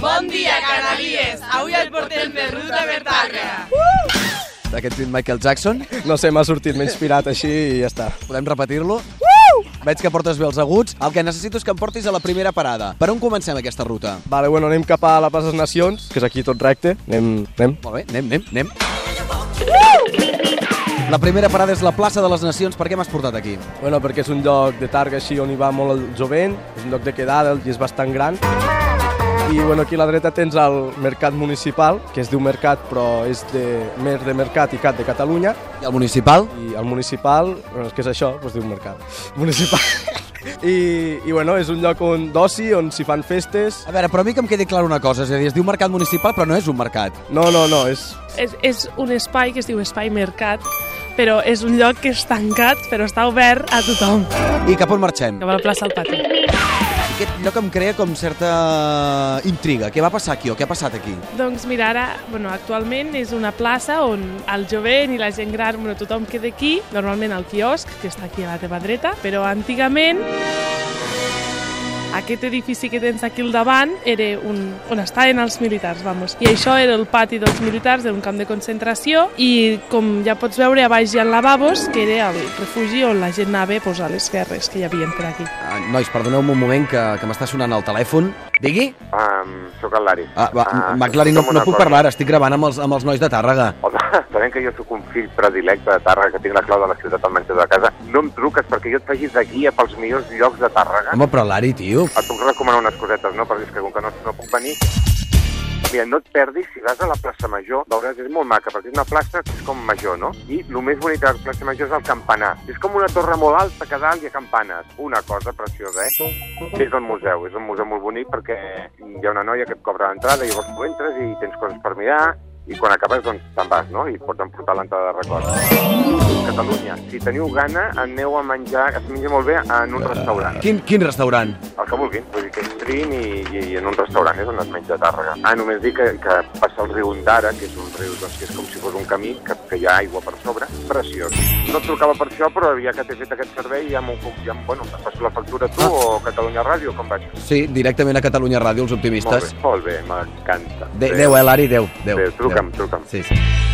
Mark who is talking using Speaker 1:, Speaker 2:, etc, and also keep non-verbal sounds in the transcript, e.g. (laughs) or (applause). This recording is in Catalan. Speaker 1: Bon dia, Canalies! Avui et portem de ruta per Tàrrega.
Speaker 2: Aquest dit Michael Jackson.
Speaker 3: No sé, m'ha sortit, m'he inspirat així i ja està.
Speaker 2: Podem repetir-lo? Veig que portes bé els aguts. El que necessito és que em portis a la primera parada. Per on comencem aquesta ruta?
Speaker 3: Vale, bueno, anem cap a la Plaça de les Nacions, que és aquí tot recte. Anem, anem.
Speaker 2: Molt bé, anem, anem, anem. La primera parada és la plaça de les Nacions. Per què m'has portat aquí?
Speaker 3: Bueno, perquè és un lloc de targa així on hi va molt el jovent, és un lloc de quedada i és bastant gran. I bueno, aquí a la dreta tens el mercat municipal, que es diu mercat però és de, més de mercat i cat de Catalunya.
Speaker 2: I el municipal?
Speaker 3: I el municipal, bueno, és que és això, doncs diu mercat. (laughs) Municipal. I, I bueno, és un lloc on d'oci, on s'hi fan festes.
Speaker 2: A veure, però a mi que em quedi clar una cosa. És a dir, es diu mercat municipal, però no és un mercat.
Speaker 3: No, no, no, és...
Speaker 4: És, és un espai que es diu Espai Mercat, però és un lloc que és tancat, però està obert a tothom.
Speaker 2: I cap on marxem?
Speaker 4: Cap a la plaça del Pati.
Speaker 2: Aquest lloc em crea com certa intriga. Què va passar aquí o què ha passat aquí?
Speaker 4: Doncs mira, ara, bueno, actualment és una plaça on el jovent i la gent gran, bueno, tothom queda aquí, normalment al quiosc, que està aquí a la teva dreta, però antigament aquest edifici que tens aquí al davant era un, on estaven els militars, vamos. I això era el pati dels militars d'un camp de concentració i, com ja pots veure, a baix hi ha lavabos, que era el refugi on la gent anava pues, a les guerres que hi havia per aquí.
Speaker 2: Ah, nois, perdoneu-me un moment que, que m'està sonant el telèfon. Digui?
Speaker 5: Um, sóc el Lari.
Speaker 2: Ah, va, ah, McLaren, no, no
Speaker 5: escolta'm una
Speaker 2: puc
Speaker 5: cosa.
Speaker 2: parlar, ara, estic gravant amb els, amb els nois de Tàrrega.
Speaker 5: Home, (laughs) sabent que jo sóc un fill predilecte de Tàrrega, que tinc la clau de la ciutat al menjador de casa, no em truques perquè jo et faci de guia pels millors llocs de Tàrrega.
Speaker 2: Home, però l'Ari, tio.
Speaker 5: Et puc recomanar unes cosetes, no? Perquè és que com que no, no puc venir... Mira, no et perdis, si vas a la plaça Major, veuràs que és molt maca, perquè és una plaça que és com major, no? I el més bonic de la plaça Major és el campanar. És com una torre molt alta que dalt hi ha campanes. Una cosa preciosa, eh? És el museu, és un museu molt bonic perquè hi ha una noia que et cobra l'entrada i llavors tu entres i tens coses per mirar i quan acabes doncs te'n vas, no? I pots emportar l'entrada de record. Catalunya, si teniu gana, aneu a menjar, es menja molt bé en un restaurant
Speaker 2: Quin, quin restaurant?
Speaker 5: el que vulguin, vull dir que entrin i, i, i en un restaurant és on es menja a Tàrrega. Ah, només dir que, que passa el riu Ondara, que és un riu doncs, que és com si fos un camí, que, que hi ha aigua per sobre, preciós. No et trucava per això, però ja que t'he fet aquest servei, ja m'ho puc, ja, em- bueno, em passo la factura a tu o Catalunya Ràdio, com vaig?
Speaker 2: Sí, directament a Catalunya Ràdio, els
Speaker 5: Molt bé,
Speaker 2: optimistes.
Speaker 5: molt bé, m'encanta.
Speaker 2: De, Déu, eh, l'Ari, Déu. Déu,
Speaker 5: Adéu, truca'm, truca'm.
Speaker 2: Sí, sí.